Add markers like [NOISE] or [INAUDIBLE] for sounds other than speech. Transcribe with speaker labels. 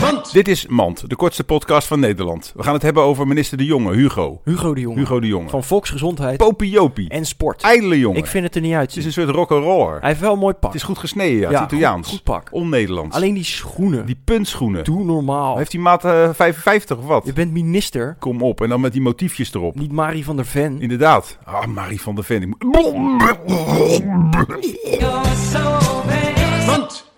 Speaker 1: Mand.
Speaker 2: Dit is Mand, de kortste podcast van Nederland. We gaan het hebben over minister De Jonge, Hugo.
Speaker 1: Hugo de Jonge.
Speaker 2: Hugo De Jonge.
Speaker 1: Van volksgezondheid
Speaker 2: Popiopie.
Speaker 1: en sport.
Speaker 2: Ijdele jongen.
Speaker 1: Ik vind het er niet
Speaker 2: Het is
Speaker 1: uitzien.
Speaker 2: een soort rock'n'roller.
Speaker 1: Hij heeft wel een mooi pak.
Speaker 2: Het is goed gesneden, ja.
Speaker 1: Ja,
Speaker 2: het Italiaans.
Speaker 1: goed- goed pak.
Speaker 2: On-Nederlands.
Speaker 1: Alleen die schoenen.
Speaker 2: Die puntschoenen.
Speaker 1: Doe normaal.
Speaker 2: Heeft die maat eh, 55 of wat?
Speaker 1: Je bent minister,
Speaker 2: Kom op. En dan met die motiefjes erop.
Speaker 1: niet Marie van der Ven.
Speaker 2: Inderdaad. Ah, Marie
Speaker 1: [LAUGHS]
Speaker 2: van der Ven. Ik moet-
Speaker 3: You're so vain.